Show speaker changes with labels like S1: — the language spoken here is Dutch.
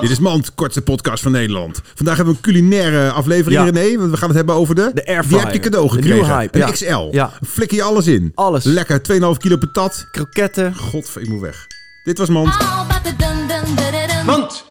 S1: Dit is Mand, kortste podcast van Nederland. Vandaag hebben we een culinaire aflevering,
S2: Ja.
S1: René. Want we gaan het hebben over de...
S2: De airfryer.
S1: Die heb je cadeau
S2: De
S1: gekregen.
S2: nieuwe hype,
S1: Een
S2: ja.
S1: XL.
S2: Ja.
S1: Flikker je alles in.
S2: Alles.
S1: Lekker, 2,5 kilo patat.
S2: Kroketten.
S1: Godver, ik moet weg. Dit was Mand.
S3: All about the dun dun dun dun dun.